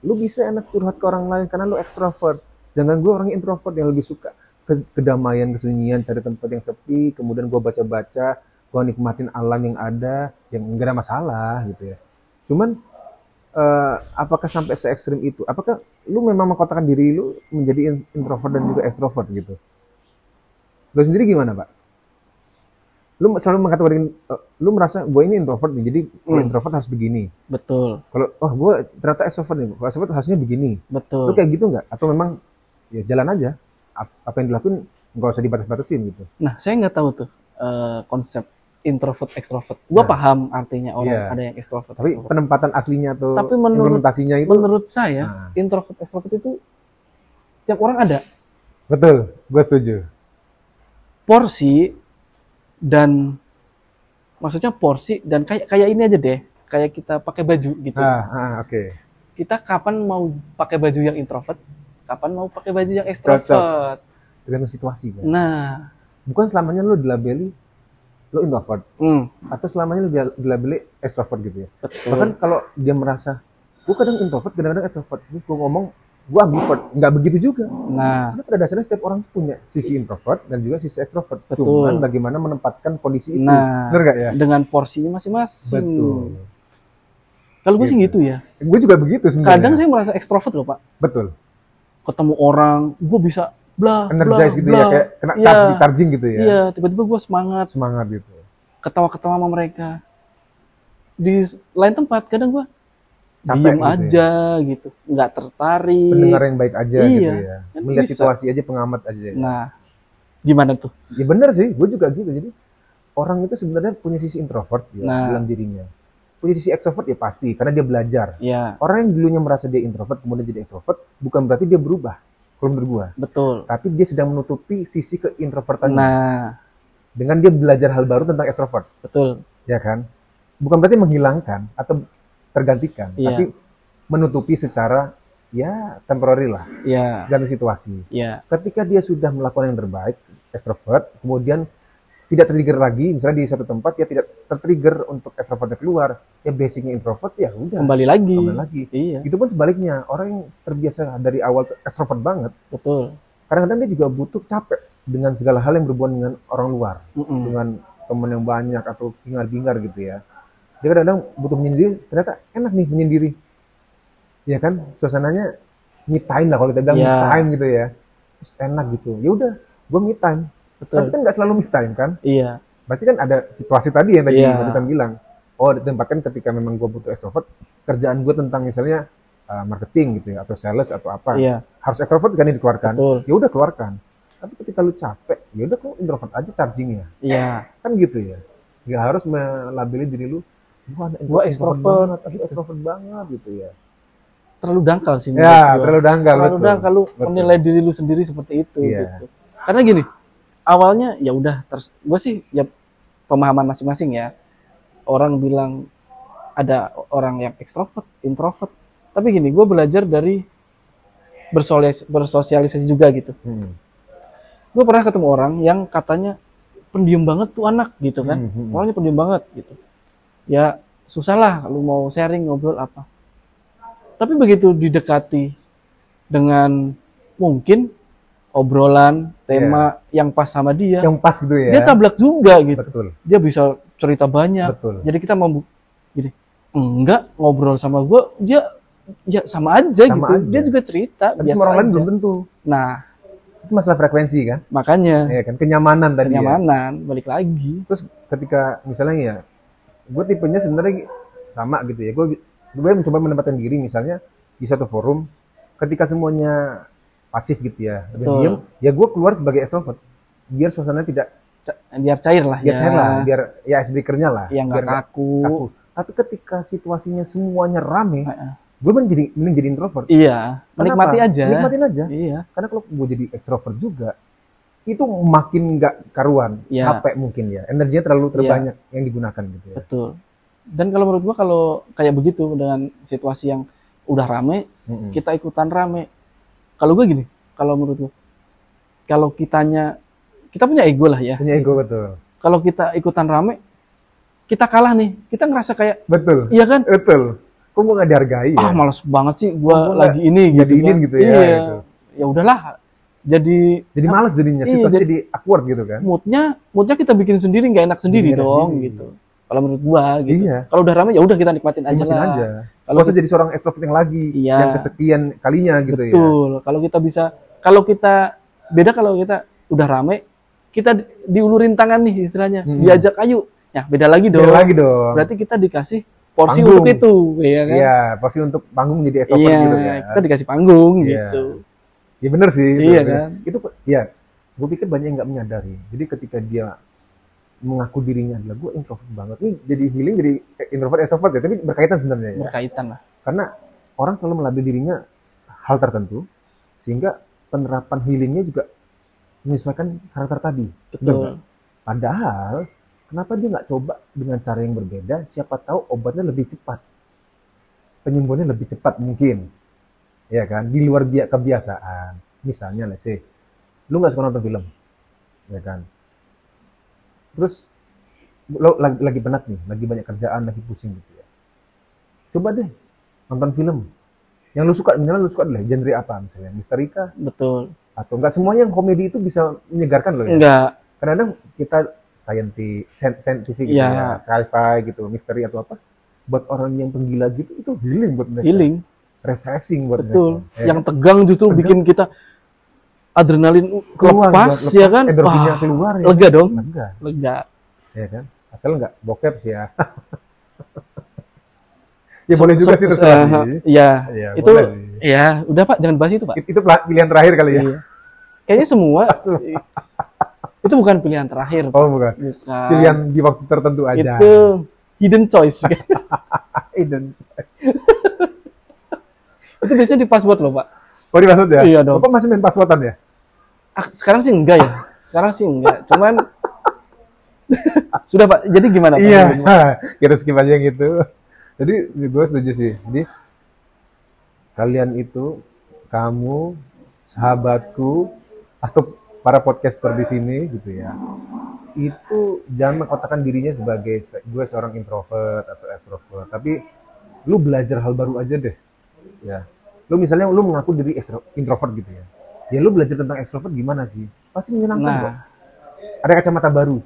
Speaker 1: lu bisa enak curhat ke orang lain karena lu extrovert. Sedangkan gue orang introvert yang lebih suka ke- kedamaian, kesunyian, cari tempat yang sepi, kemudian gue baca-baca, gue nikmatin alam yang ada, yang enggak ada masalah gitu ya. Cuman eh, apakah sampai se ekstrim itu? Apakah lu memang mengkotakan diri lu menjadi in- introvert dan juga extrovert gitu? Lu sendiri gimana, Pak? Lu selalu mengatakan, eh, lu merasa gue ini introvert nih, jadi kalau
Speaker 2: Hmm.
Speaker 1: introvert harus begini.
Speaker 2: Betul,
Speaker 1: Kalau, oh gue ternyata extrovert nih, kalau extrovert harusnya begini. Lu
Speaker 2: betul.
Speaker 1: kayak gitu nggak? Atau memang ya jalan aja, Ap- apa yang dilakuin nggak usah dibatas-batasin gitu.
Speaker 2: Nah, saya nggak tahu tuh eh, konsep introvert ekstrovert. Gua
Speaker 1: Nah.
Speaker 2: paham artinya orang
Speaker 1: Iya.
Speaker 2: ada yang ekstrovert.
Speaker 1: Tapi
Speaker 2: extrovert.
Speaker 1: penempatan aslinya atau
Speaker 2: Tapi menurut-
Speaker 1: implementasinya itu,
Speaker 2: menurut ya. saya
Speaker 1: Nah,
Speaker 2: introvert ekstrovert itu tiap orang ada
Speaker 1: betul, gue setuju.
Speaker 2: porsi dan maksudnya porsi dan kayak kayak ini aja deh, kayak kita pakai baju gitu.
Speaker 1: Ah, ah, oke.
Speaker 2: Kita kapan mau pakai baju yang introvert, kapan mau pakai baju yang ekstrovert.
Speaker 1: Tergantung situasi kan.
Speaker 2: Nah,
Speaker 1: Bukan selamanya lu dilabeli lu introvert
Speaker 2: hmm,
Speaker 1: atau selamanya lu dia- dilabeli extrovert gitu ya.
Speaker 2: betul.
Speaker 1: Bahkan kalau dia merasa gua kadang introvert, kadang-kadang extrovert, terus gua ngomong gua ambivert, nggak begitu juga.
Speaker 2: nah,
Speaker 1: Karena pada dasarnya setiap orang tuh punya sisi introvert dan juga sisi extrovert.
Speaker 2: Betul.
Speaker 1: Cuman bagaimana menempatkan kondisi itu.
Speaker 2: Nah.
Speaker 1: Bener nggak ya?
Speaker 2: dengan porsinya masing-masing.
Speaker 1: Betul.
Speaker 2: Kalau gue sih
Speaker 1: Gitu.
Speaker 2: gitu ya.
Speaker 1: Gue juga begitu sebenarnya.
Speaker 2: Kadang saya merasa ekstrovert loh pak.
Speaker 1: betul.
Speaker 2: Ketemu orang, gue bisa bla bla
Speaker 1: Energize gitu
Speaker 2: bla.
Speaker 1: ya, kayak kena
Speaker 2: Iya.
Speaker 1: charge di charging gitu ya.
Speaker 2: Iya, tiba-tiba gue semangat,
Speaker 1: Semangat gitu.
Speaker 2: ketawa-ketawa sama mereka. Di s- lain tempat kadang gue
Speaker 1: Capek
Speaker 2: diem
Speaker 1: gitu ya.
Speaker 2: aja gitu, nggak tertarik.
Speaker 1: Pendengar yang baik aja
Speaker 2: Iya.
Speaker 1: gitu ya.
Speaker 2: Kan
Speaker 1: Melihat
Speaker 2: bisa.
Speaker 1: situasi aja, pengamat aja. ya.
Speaker 2: Nah, gimana tuh?
Speaker 1: Ya bener sih, gue juga gitu. Jadi orang itu sebenarnya punya sisi introvert ya,
Speaker 2: Nah.
Speaker 1: dalam dirinya. Punya sisi extrovert ya pasti, karena dia belajar.
Speaker 2: Ya,
Speaker 1: Orang yang dulunya merasa dia introvert kemudian jadi extrovert, bukan berarti dia berubah. Kalau menurut gue.
Speaker 2: betul.
Speaker 1: Tapi dia sedang menutupi sisi keintrovertannya.
Speaker 2: Nah,
Speaker 1: Dengan dia belajar hal baru tentang extrovert,
Speaker 2: betul.
Speaker 1: ya kan? Bukan berarti menghilangkan atau tergantikan,
Speaker 2: Iya.
Speaker 1: tapi menutupi secara ya temporary lah,
Speaker 2: Ya,
Speaker 1: ganti situasi.
Speaker 2: ya,
Speaker 1: ketika dia sudah melakukan yang terbaik, extrovert, kemudian tidak tertrigger lagi, misalnya di satu tempat dia tidak tertrigger untuk extrovertnya keluar, ya basicnya introvert ya udah
Speaker 2: kembali lagi.
Speaker 1: kembali lagi.
Speaker 2: Iya,
Speaker 1: Itu pun sebaliknya, orang yang terbiasa dari awal tuh extrovert banget,
Speaker 2: betul.
Speaker 1: kadang-kadang dia juga butuh capek dengan segala hal yang berhubungan dengan orang luar,
Speaker 2: Mm-mm.
Speaker 1: dengan teman yang banyak atau bingar-bingar gitu ya. Dia kadang-kadang butuh menyendiri, ternyata enak nih menyendiri. Ya kan, suasananya me time lah kalau kita bilang me
Speaker 2: Iya.
Speaker 1: time gitu ya. Terus enak gitu. Ya udah, gua me time. Tapi
Speaker 2: Betul.
Speaker 1: kan nggak selalu me time kan?
Speaker 2: Iya,
Speaker 1: Berarti kan ada situasi tadi yang tadi
Speaker 2: Iya.
Speaker 1: Mas Utan bilang. Oh, ditempatkan ketika memang gue butuh extrovert, kerjaan gue tentang misalnya uh, marketing gitu ya, atau sales atau apa.
Speaker 2: iya,
Speaker 1: Harus extrovert kan yang dikeluarkan.
Speaker 2: betul.
Speaker 1: Ya udah keluarkan. Tapi ketika lu capek, ya udah kok introvert aja chargingnya.
Speaker 2: Iya,
Speaker 1: Kan gitu ya. Nggak harus melabeli diri lu, gua anak
Speaker 2: Gua extrovert.
Speaker 1: banget, aku extrovert banget gitu ya.
Speaker 2: terlalu dangkal sih. menurut
Speaker 1: Ya,
Speaker 2: gua.
Speaker 1: terlalu dangkal.
Speaker 2: Kalau
Speaker 1: betul.
Speaker 2: udah kalau
Speaker 1: Betul.
Speaker 2: menilai diri lu sendiri seperti itu
Speaker 1: Iya.
Speaker 2: gitu. Karena gini, awalnya ya udah terus gue sih ya pemahaman masing-masing ya. Orang bilang ada orang yang ekstrovert, introvert. Tapi gini, gue belajar dari bersolies- bersosialisasi juga gitu.
Speaker 1: Hmm.
Speaker 2: Gue pernah ketemu orang yang katanya pendiam banget tuh anak gitu kan.
Speaker 1: Hmm, hmm, hmm.
Speaker 2: Orangnya pendiam banget gitu. Ya susah lah lu mau sharing ngobrol apa. Tapi begitu didekati dengan mungkin obrolan, tema yang pas sama dia,
Speaker 1: Yang pas gitu ya.
Speaker 2: dia cablak juga gitu.
Speaker 1: Iya.
Speaker 2: Ya.
Speaker 1: Betul,
Speaker 2: Dia bisa cerita banyak.
Speaker 1: betul.
Speaker 2: Jadi kita mau gini, enggak ngobrol sama gua, dia ya sama aja
Speaker 1: Sama
Speaker 2: gitu. Dia
Speaker 1: aja.
Speaker 2: juga cerita
Speaker 1: Tapi
Speaker 2: biasa
Speaker 1: sama orang lain
Speaker 2: aja.
Speaker 1: belum tentu.
Speaker 2: Nah,
Speaker 1: Itu masalah frekuensi kan?
Speaker 2: makanya
Speaker 1: Iya kan, kenyamanan tadi. ya.
Speaker 2: Ya. kenyamanan balik lagi.
Speaker 1: terus ketika misalnya ya gue tipenya sebenarnya sama gitu ya gue gue mencoba menempatkan diri misalnya di satu forum ketika semuanya pasif gitu ya lebih
Speaker 2: Betul.
Speaker 1: diem ya gue keluar sebagai extrovert biar suasana tidak
Speaker 2: Ca- biar cair lah
Speaker 1: biar
Speaker 2: ya.
Speaker 1: cair lah biar ya icebreakernya lah
Speaker 2: yang
Speaker 1: biar
Speaker 2: nggak
Speaker 1: nggak
Speaker 2: kaku.
Speaker 1: kaku. tapi ketika situasinya semuanya rame
Speaker 2: Heeh.
Speaker 1: gue menjadi menjadi introvert
Speaker 2: Iya, menikmati
Speaker 1: Kenapa?
Speaker 2: aja.
Speaker 1: nikmatin aja
Speaker 2: Iya,
Speaker 1: karena kalau gue jadi extrovert juga itu makin nggak karuan
Speaker 2: Iya.
Speaker 1: capek mungkin ya energinya terlalu terbanyak yang digunakan gitu ya
Speaker 2: betul. Dan kalau menurut gua kalau kayak begitu dengan situasi yang udah rame,
Speaker 1: Mm-mm.
Speaker 2: kita ikutan rame. Kalau gua gini, kalau menurut gua kalau kitanya kita punya ego lah ya.
Speaker 1: punya ego betul
Speaker 2: Kalau kita ikutan rame, kita kalah nih. Kita ngerasa kayak
Speaker 1: betul
Speaker 2: iya kan?
Speaker 1: betul kok gue nggak dihargai ya
Speaker 2: Ah, males banget sih gua
Speaker 1: Gua nggak
Speaker 2: lagi ini
Speaker 1: jadi
Speaker 2: kan.
Speaker 1: ingin gitu ya
Speaker 2: Iya.
Speaker 1: gitu.
Speaker 2: Ya udahlah. Jadi
Speaker 1: jadi males jadinya
Speaker 2: Iya,
Speaker 1: situasi
Speaker 2: jadi-
Speaker 1: jadi awkward gitu kan
Speaker 2: moodnya moodnya kita bikin sendiri nggak enak sendiri
Speaker 1: Bikin enak
Speaker 2: dong
Speaker 1: sendiri.
Speaker 2: gitu Kalau menurut gua gitu.
Speaker 1: Iya.
Speaker 2: Kalau udah ramai ya udah kita nikmatin aja
Speaker 1: Nikmatin
Speaker 2: lah.
Speaker 1: aja.
Speaker 2: Kalau gitu-
Speaker 1: Kalau jadi seorang extrovert yang lagi
Speaker 2: Iya.
Speaker 1: yang kesekian kalinya gitu ya.
Speaker 2: betul. Kalau kita bisa kalau kita beda kalau kita udah ramai kita di- diulurin tangan nih istilahnya.
Speaker 1: Mm-mm.
Speaker 2: Diajak ayu. Ya beda lagi dong.
Speaker 1: Hmm. Beda lagi dong.
Speaker 2: Berarti kita dikasih porsi
Speaker 1: Panggung.
Speaker 2: untuk itu, ya kan?
Speaker 1: Iya, pasti untuk panggung jadi extrovert
Speaker 2: Iya,
Speaker 1: gitu kan.
Speaker 2: kita dikasih panggung
Speaker 1: Iya.
Speaker 2: gitu.
Speaker 1: Iya bener sih. itu.
Speaker 2: Iya kan?
Speaker 1: Itu ya, gue pikir banyak yang nggak menyadari. Jadi ketika dia mengaku dirinya adalah gue introvert banget. Ini jadi healing jadi introvert extrovert ya, tapi berkaitan sebenarnya ya.
Speaker 2: Berkaitan lah.
Speaker 1: Karena orang selalu melabel dirinya hal tertentu, sehingga penerapan healingnya juga menyesuaikan karakter tadi. Bener.
Speaker 2: Betul.
Speaker 1: Padahal kenapa dia nggak coba dengan cara yang berbeda? Siapa tahu obatnya lebih cepat, penyembuhannya lebih cepat mungkin, ya kan? Di luar dia kebiasaan. Misalnya, let's say, lu nggak suka nonton film, ya kan? Terus lo lagi, lagi penat nih, lagi banyak kerjaan, lagi pusing gitu ya. Coba deh nonton film yang lu suka, misalnya lu suka adalah genre apa misalnya, misteri kah?
Speaker 2: Betul.
Speaker 1: Atau enggak semuanya yang komedi itu bisa menyegarkan lo ya?
Speaker 2: Enggak.
Speaker 1: kadang-kadang kita scienti- sen- scientific gitu ya,
Speaker 2: Iya.
Speaker 1: sci-fi gitu, misteri atau apa, buat orang yang penggila gitu itu healing buat mereka,
Speaker 2: Healing.
Speaker 1: refreshing buat
Speaker 2: Betul.
Speaker 1: mereka. Ya
Speaker 2: Yang tegang justru
Speaker 1: Tegang.
Speaker 2: bikin kita adrenalin
Speaker 1: Keluar,
Speaker 2: lepas,
Speaker 1: lepas.
Speaker 2: ya
Speaker 1: kan?
Speaker 2: kan?
Speaker 1: endorfinnya
Speaker 2: Wah,
Speaker 1: keluar ya.
Speaker 2: lega dong.
Speaker 1: Lega,
Speaker 2: Lega.
Speaker 1: ya kan? Asal nggak bokep sih ya. ya boleh juga sih terserah
Speaker 2: eh,
Speaker 1: sih.
Speaker 2: Iya.
Speaker 1: Ya,
Speaker 2: Itu
Speaker 1: boleh sih.
Speaker 2: ya, udah Pak, jangan bahas itu, Pak.
Speaker 1: It- itu pela- pilihan terakhir kali ya.
Speaker 2: Iya. Kayaknya semua
Speaker 1: Asal-
Speaker 2: itu bukan pilihan terakhir, Pak.
Speaker 1: Oh bukan.
Speaker 2: Bukan.
Speaker 1: Pilihan di waktu tertentu aja.
Speaker 2: itu hidden choice.
Speaker 1: Itu.
Speaker 2: itu biasanya di password loh, Pak.
Speaker 1: Oh dimaksud ya?
Speaker 2: Iya dong.
Speaker 1: Bapak masih main passwordan ya?
Speaker 2: Ah, sekarang sih enggak ya. Sekarang sih enggak. Cuman sudah Pak. Jadi gimana Pak?
Speaker 1: Iya, kita skip aja yang itu. Jadi gue setuju sih. Jadi kalian itu, kamu, sahabatku, atau para podcaster di sini gitu ya, itu jangan mengkotakkan dirinya sebagai se- gue seorang introvert atau extrovert. Tapi lu belajar hal baru aja deh. Ya, lu misalnya lu mengaku diri extro- introvert gitu ya. Ya lu belajar tentang extrovert gimana sih? Pasti menyenangkan kok.
Speaker 2: Nah,
Speaker 1: Ada kacamata baru,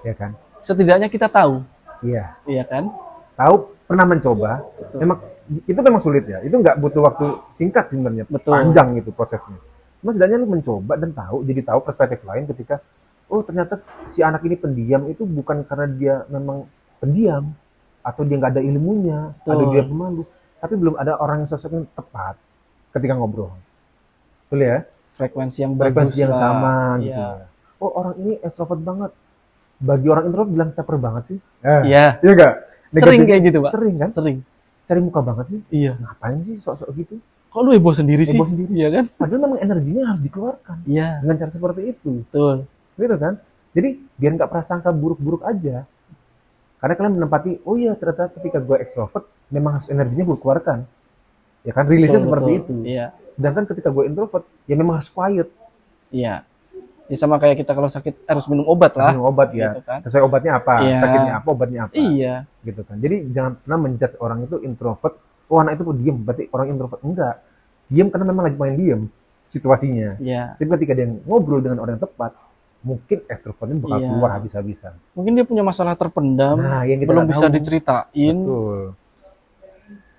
Speaker 1: ya kan?
Speaker 2: setidaknya kita tahu,
Speaker 1: Iya.
Speaker 2: iya kan?
Speaker 1: tahu pernah mencoba
Speaker 2: Betul.
Speaker 1: memang itu memang sulit ya itu nggak butuh waktu singkat sebenarnya
Speaker 2: Betul.
Speaker 1: panjang gitu prosesnya cuma setidaknya lu mencoba dan tahu jadi tahu perspektif lain ketika oh ternyata si anak ini pendiam itu bukan karena dia memang pendiam atau dia nggak ada ilmunya atau
Speaker 2: Betul.
Speaker 1: dia pemalu tapi belum ada orang yang sosoknya tepat ketika ngobrol betul ya
Speaker 2: Frekuensi yang bagus
Speaker 1: frekuensi yang
Speaker 2: lah.
Speaker 1: sama gitu
Speaker 2: Iya.
Speaker 1: ya. oh orang ini extrovert banget bagi orang introvert bilang caper banget sih eh,
Speaker 2: Iya,
Speaker 1: iya nggak?
Speaker 2: sering
Speaker 1: Negatif-
Speaker 2: kayak gitu, Pak.
Speaker 1: sering kan
Speaker 2: Sering.
Speaker 1: cari muka banget sih
Speaker 2: Iya.
Speaker 1: ngapain sih sok-sok gitu
Speaker 2: Kok lu heboh sendiri sih?
Speaker 1: Heboh sendiri.
Speaker 2: Iya kan?
Speaker 1: padahal memang energinya harus dikeluarkan
Speaker 2: Iya,
Speaker 1: dengan cara seperti itu
Speaker 2: betul.
Speaker 1: gitu kan jadi biar nggak prasangka buruk-buruk aja karena kalian menempati oh iya ternyata ketika gue extrovert memang harus energinya gue keluarkan ya kan rilisnya
Speaker 2: Betul,
Speaker 1: seperti
Speaker 2: betul.
Speaker 1: itu
Speaker 2: Iya,
Speaker 1: sedangkan ketika gue introvert ya memang harus quiet
Speaker 2: iya. Ya sama kayak kita kalau sakit harus minum obat
Speaker 1: harus
Speaker 2: lah,
Speaker 1: minum obat ya
Speaker 2: gitu kan?
Speaker 1: sesuai obatnya apa
Speaker 2: Iya.
Speaker 1: sakitnya apa obatnya apa
Speaker 2: Iya,
Speaker 1: gitu kan jadi jangan pernah menjudge orang itu introvert oh anak itu diam berarti orang introvert enggak diam karena memang lagi main diam situasinya
Speaker 2: iya.
Speaker 1: Tapi ketika dia ngobrol dengan orang yang tepat, mungkin ekstrovertnya bakal
Speaker 2: Iya.
Speaker 1: keluar habis-habisan.
Speaker 2: Mungkin dia punya masalah terpendam,
Speaker 1: Nah, yang kita
Speaker 2: belum
Speaker 1: nggak
Speaker 2: bisa
Speaker 1: tahu.
Speaker 2: diceritain,
Speaker 1: Betul.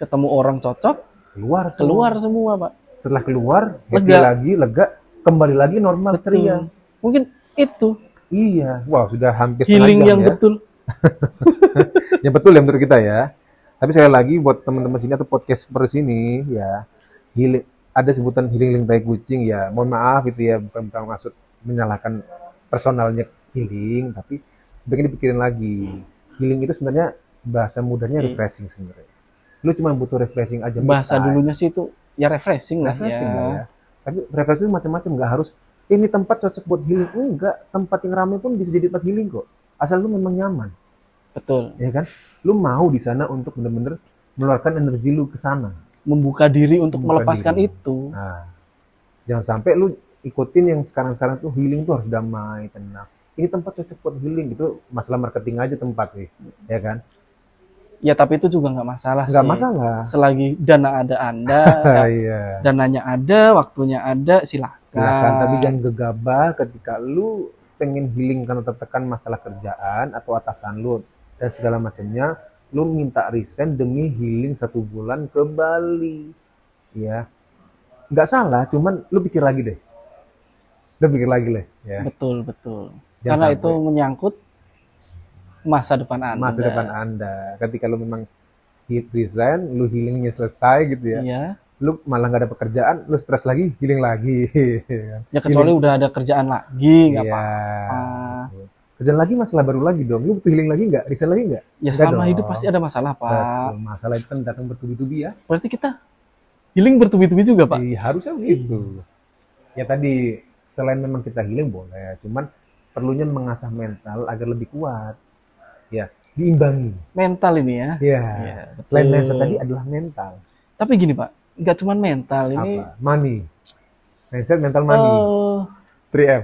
Speaker 2: ketemu orang cocok,
Speaker 1: Keluar, semua.
Speaker 2: keluar semua, Pak.
Speaker 1: Setelah keluar, happy
Speaker 2: Lega.
Speaker 1: lagi, lega, kembali lagi normal,
Speaker 2: Betul.
Speaker 1: ceria.
Speaker 2: Mungkin itu
Speaker 1: Iya. Wow, sudah hampir setengah
Speaker 2: healing
Speaker 1: jam
Speaker 2: yang
Speaker 1: ya.
Speaker 2: betul.
Speaker 1: yang betul ya menurut kita ya. Tapi sekali lagi buat teman-teman sini atau podcast per sini ya, healing, ada sebutan healing link tai kucing ya. Mohon maaf itu ya bukan bukan maksud menyalahkan personalnya healing, tapi sebaiknya dipikirin lagi. Healing itu sebenarnya bahasa mudahnya
Speaker 2: Iya.
Speaker 1: refreshing sebenarnya. Lu cuma butuh refreshing aja. me
Speaker 2: Bahasa
Speaker 1: time.
Speaker 2: dulunya sih itu ya refreshing lah
Speaker 1: refreshing
Speaker 2: ya.
Speaker 1: lah ya. Tapi refreshing itu macam-macam nggak harus "Eh, ini tempat cocok buat healing enggak. Tempat yang ramai pun bisa jadi tempat healing kok. Asal lu memang nyaman
Speaker 2: Betul.
Speaker 1: ya kan? Lu mau di sana untuk bener-bener meluarkan energi lu ke sana.
Speaker 2: Membuka diri untuk
Speaker 1: Membuka
Speaker 2: melepaskan
Speaker 1: diri.
Speaker 2: itu.
Speaker 1: Nah, jangan sampai lu ikutin yang sekarang-sekarang tuh healing tuh harus damai, tenang. Ini tempat cocok buat healing gitu. Masalah marketing aja tempat sih, ya kan?
Speaker 2: Ya tapi itu juga nggak masalah
Speaker 1: Nggak
Speaker 2: sih.
Speaker 1: masalah.
Speaker 2: Selagi dana ada Anda,
Speaker 1: Ah, Iya.
Speaker 2: dananya ada, waktunya ada, silakan.
Speaker 1: Silakan, tapi
Speaker 2: Kan.
Speaker 1: jangan gegabah ketika lu pengen healing karena tertekan masalah kerjaan atau atasan lu dan segala macamnya lu minta resign demi healing satu bulan ke Bali ya nggak salah cuman lu pikir lagi deh lu pikir lagi deh ya
Speaker 2: betul betul
Speaker 1: Jangan
Speaker 2: karena
Speaker 1: sampai.
Speaker 2: itu menyangkut masa depan anda
Speaker 1: masa depan anda ketika lu memang hit resign lu healingnya selesai gitu ya
Speaker 2: iya
Speaker 1: lu malah nggak ada pekerjaan lu stres lagi healing lagi
Speaker 2: ya kecuali udah ada kerjaan lagi nggak
Speaker 1: Iya.
Speaker 2: apa-apa
Speaker 1: kerjaan lagi masalah baru lagi dong lu butuh healing lagi nggak resign lagi nggak
Speaker 2: ya
Speaker 1: Enggak
Speaker 2: selama
Speaker 1: dong.
Speaker 2: hidup pasti ada masalah pak
Speaker 1: Betul. masalah itu kan datang bertubi-tubi ya
Speaker 2: berarti kita healing bertubi-tubi juga pak Gitu.
Speaker 1: Iya, harusnya begitu. Ya tadi selain memang kita healing boleh, cuman perlunya mengasah mental agar lebih kuat. Ya, diimbangi.
Speaker 2: mental ini ya
Speaker 1: Ya.
Speaker 2: Iya,
Speaker 1: Selain
Speaker 2: betul.
Speaker 1: mindset tadi adalah mental.
Speaker 2: tapi gini pak nggak cuma mental ini
Speaker 1: Apa? Money. Mindset mental money.
Speaker 2: eh,
Speaker 1: 3M.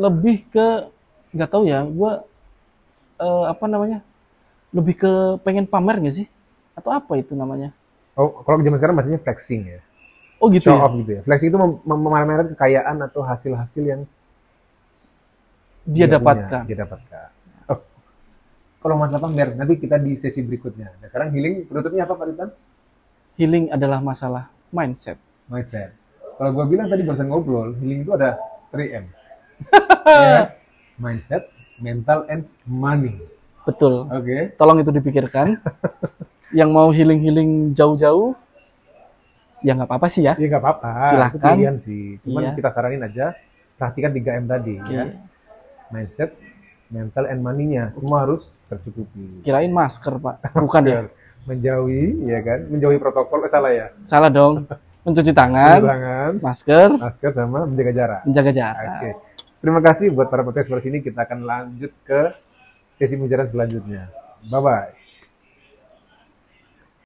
Speaker 2: lebih ke nggak tahu ya gua eh, apa namanya lebih ke pengen pamer nggak sih atau apa itu namanya
Speaker 1: Oh, kalau zaman sekarang maksudnya flexing ya.
Speaker 2: oh gitu
Speaker 1: Show
Speaker 2: ya?
Speaker 1: off gitu ya. Flexing itu mem- mem- memamerkan kekayaan atau hasil-hasil yang
Speaker 2: dia
Speaker 1: Iya, punya,
Speaker 2: dapatkan
Speaker 1: Dia dapatkan. Oh. Kalau masalah pamer, nanti kita di sesi berikutnya. Nah, sekarang healing penutupnya apa Pak Ritan?
Speaker 2: healing adalah masalah mindset
Speaker 1: mindset. Kalau gue bilang tadi barusan ngobrol, healing itu ada 3M. Ya, mindset, mental, and money.
Speaker 2: betul
Speaker 1: Oke.
Speaker 2: tolong itu dipikirkan yang mau healing healing jauh-jauh ya nggak apa-apa sih ya
Speaker 1: Ya nggak apa-apa.
Speaker 2: Silahkan.
Speaker 1: Itu pilihan sih. Cuman
Speaker 2: Iya.
Speaker 1: kita saranin aja, perhatikan 3M tadi. Ya. Mindset, mental, and money-nya. Semua harus tercukupi.
Speaker 2: kirain masker pak bukan ya
Speaker 1: Menjauhi, ya kan? Menjauhi protokol, eh, salah ya?
Speaker 2: salah dong mencuci
Speaker 1: Mencuci
Speaker 2: tangan
Speaker 1: Tangan,
Speaker 2: masker
Speaker 1: masker, sama menjaga jarak.
Speaker 2: menjaga
Speaker 1: Oke.
Speaker 2: jarak
Speaker 1: Terima kasih buat para podcast di sini. Kita akan lanjut ke sesi pembicaraan selanjutnya. Bye-bye.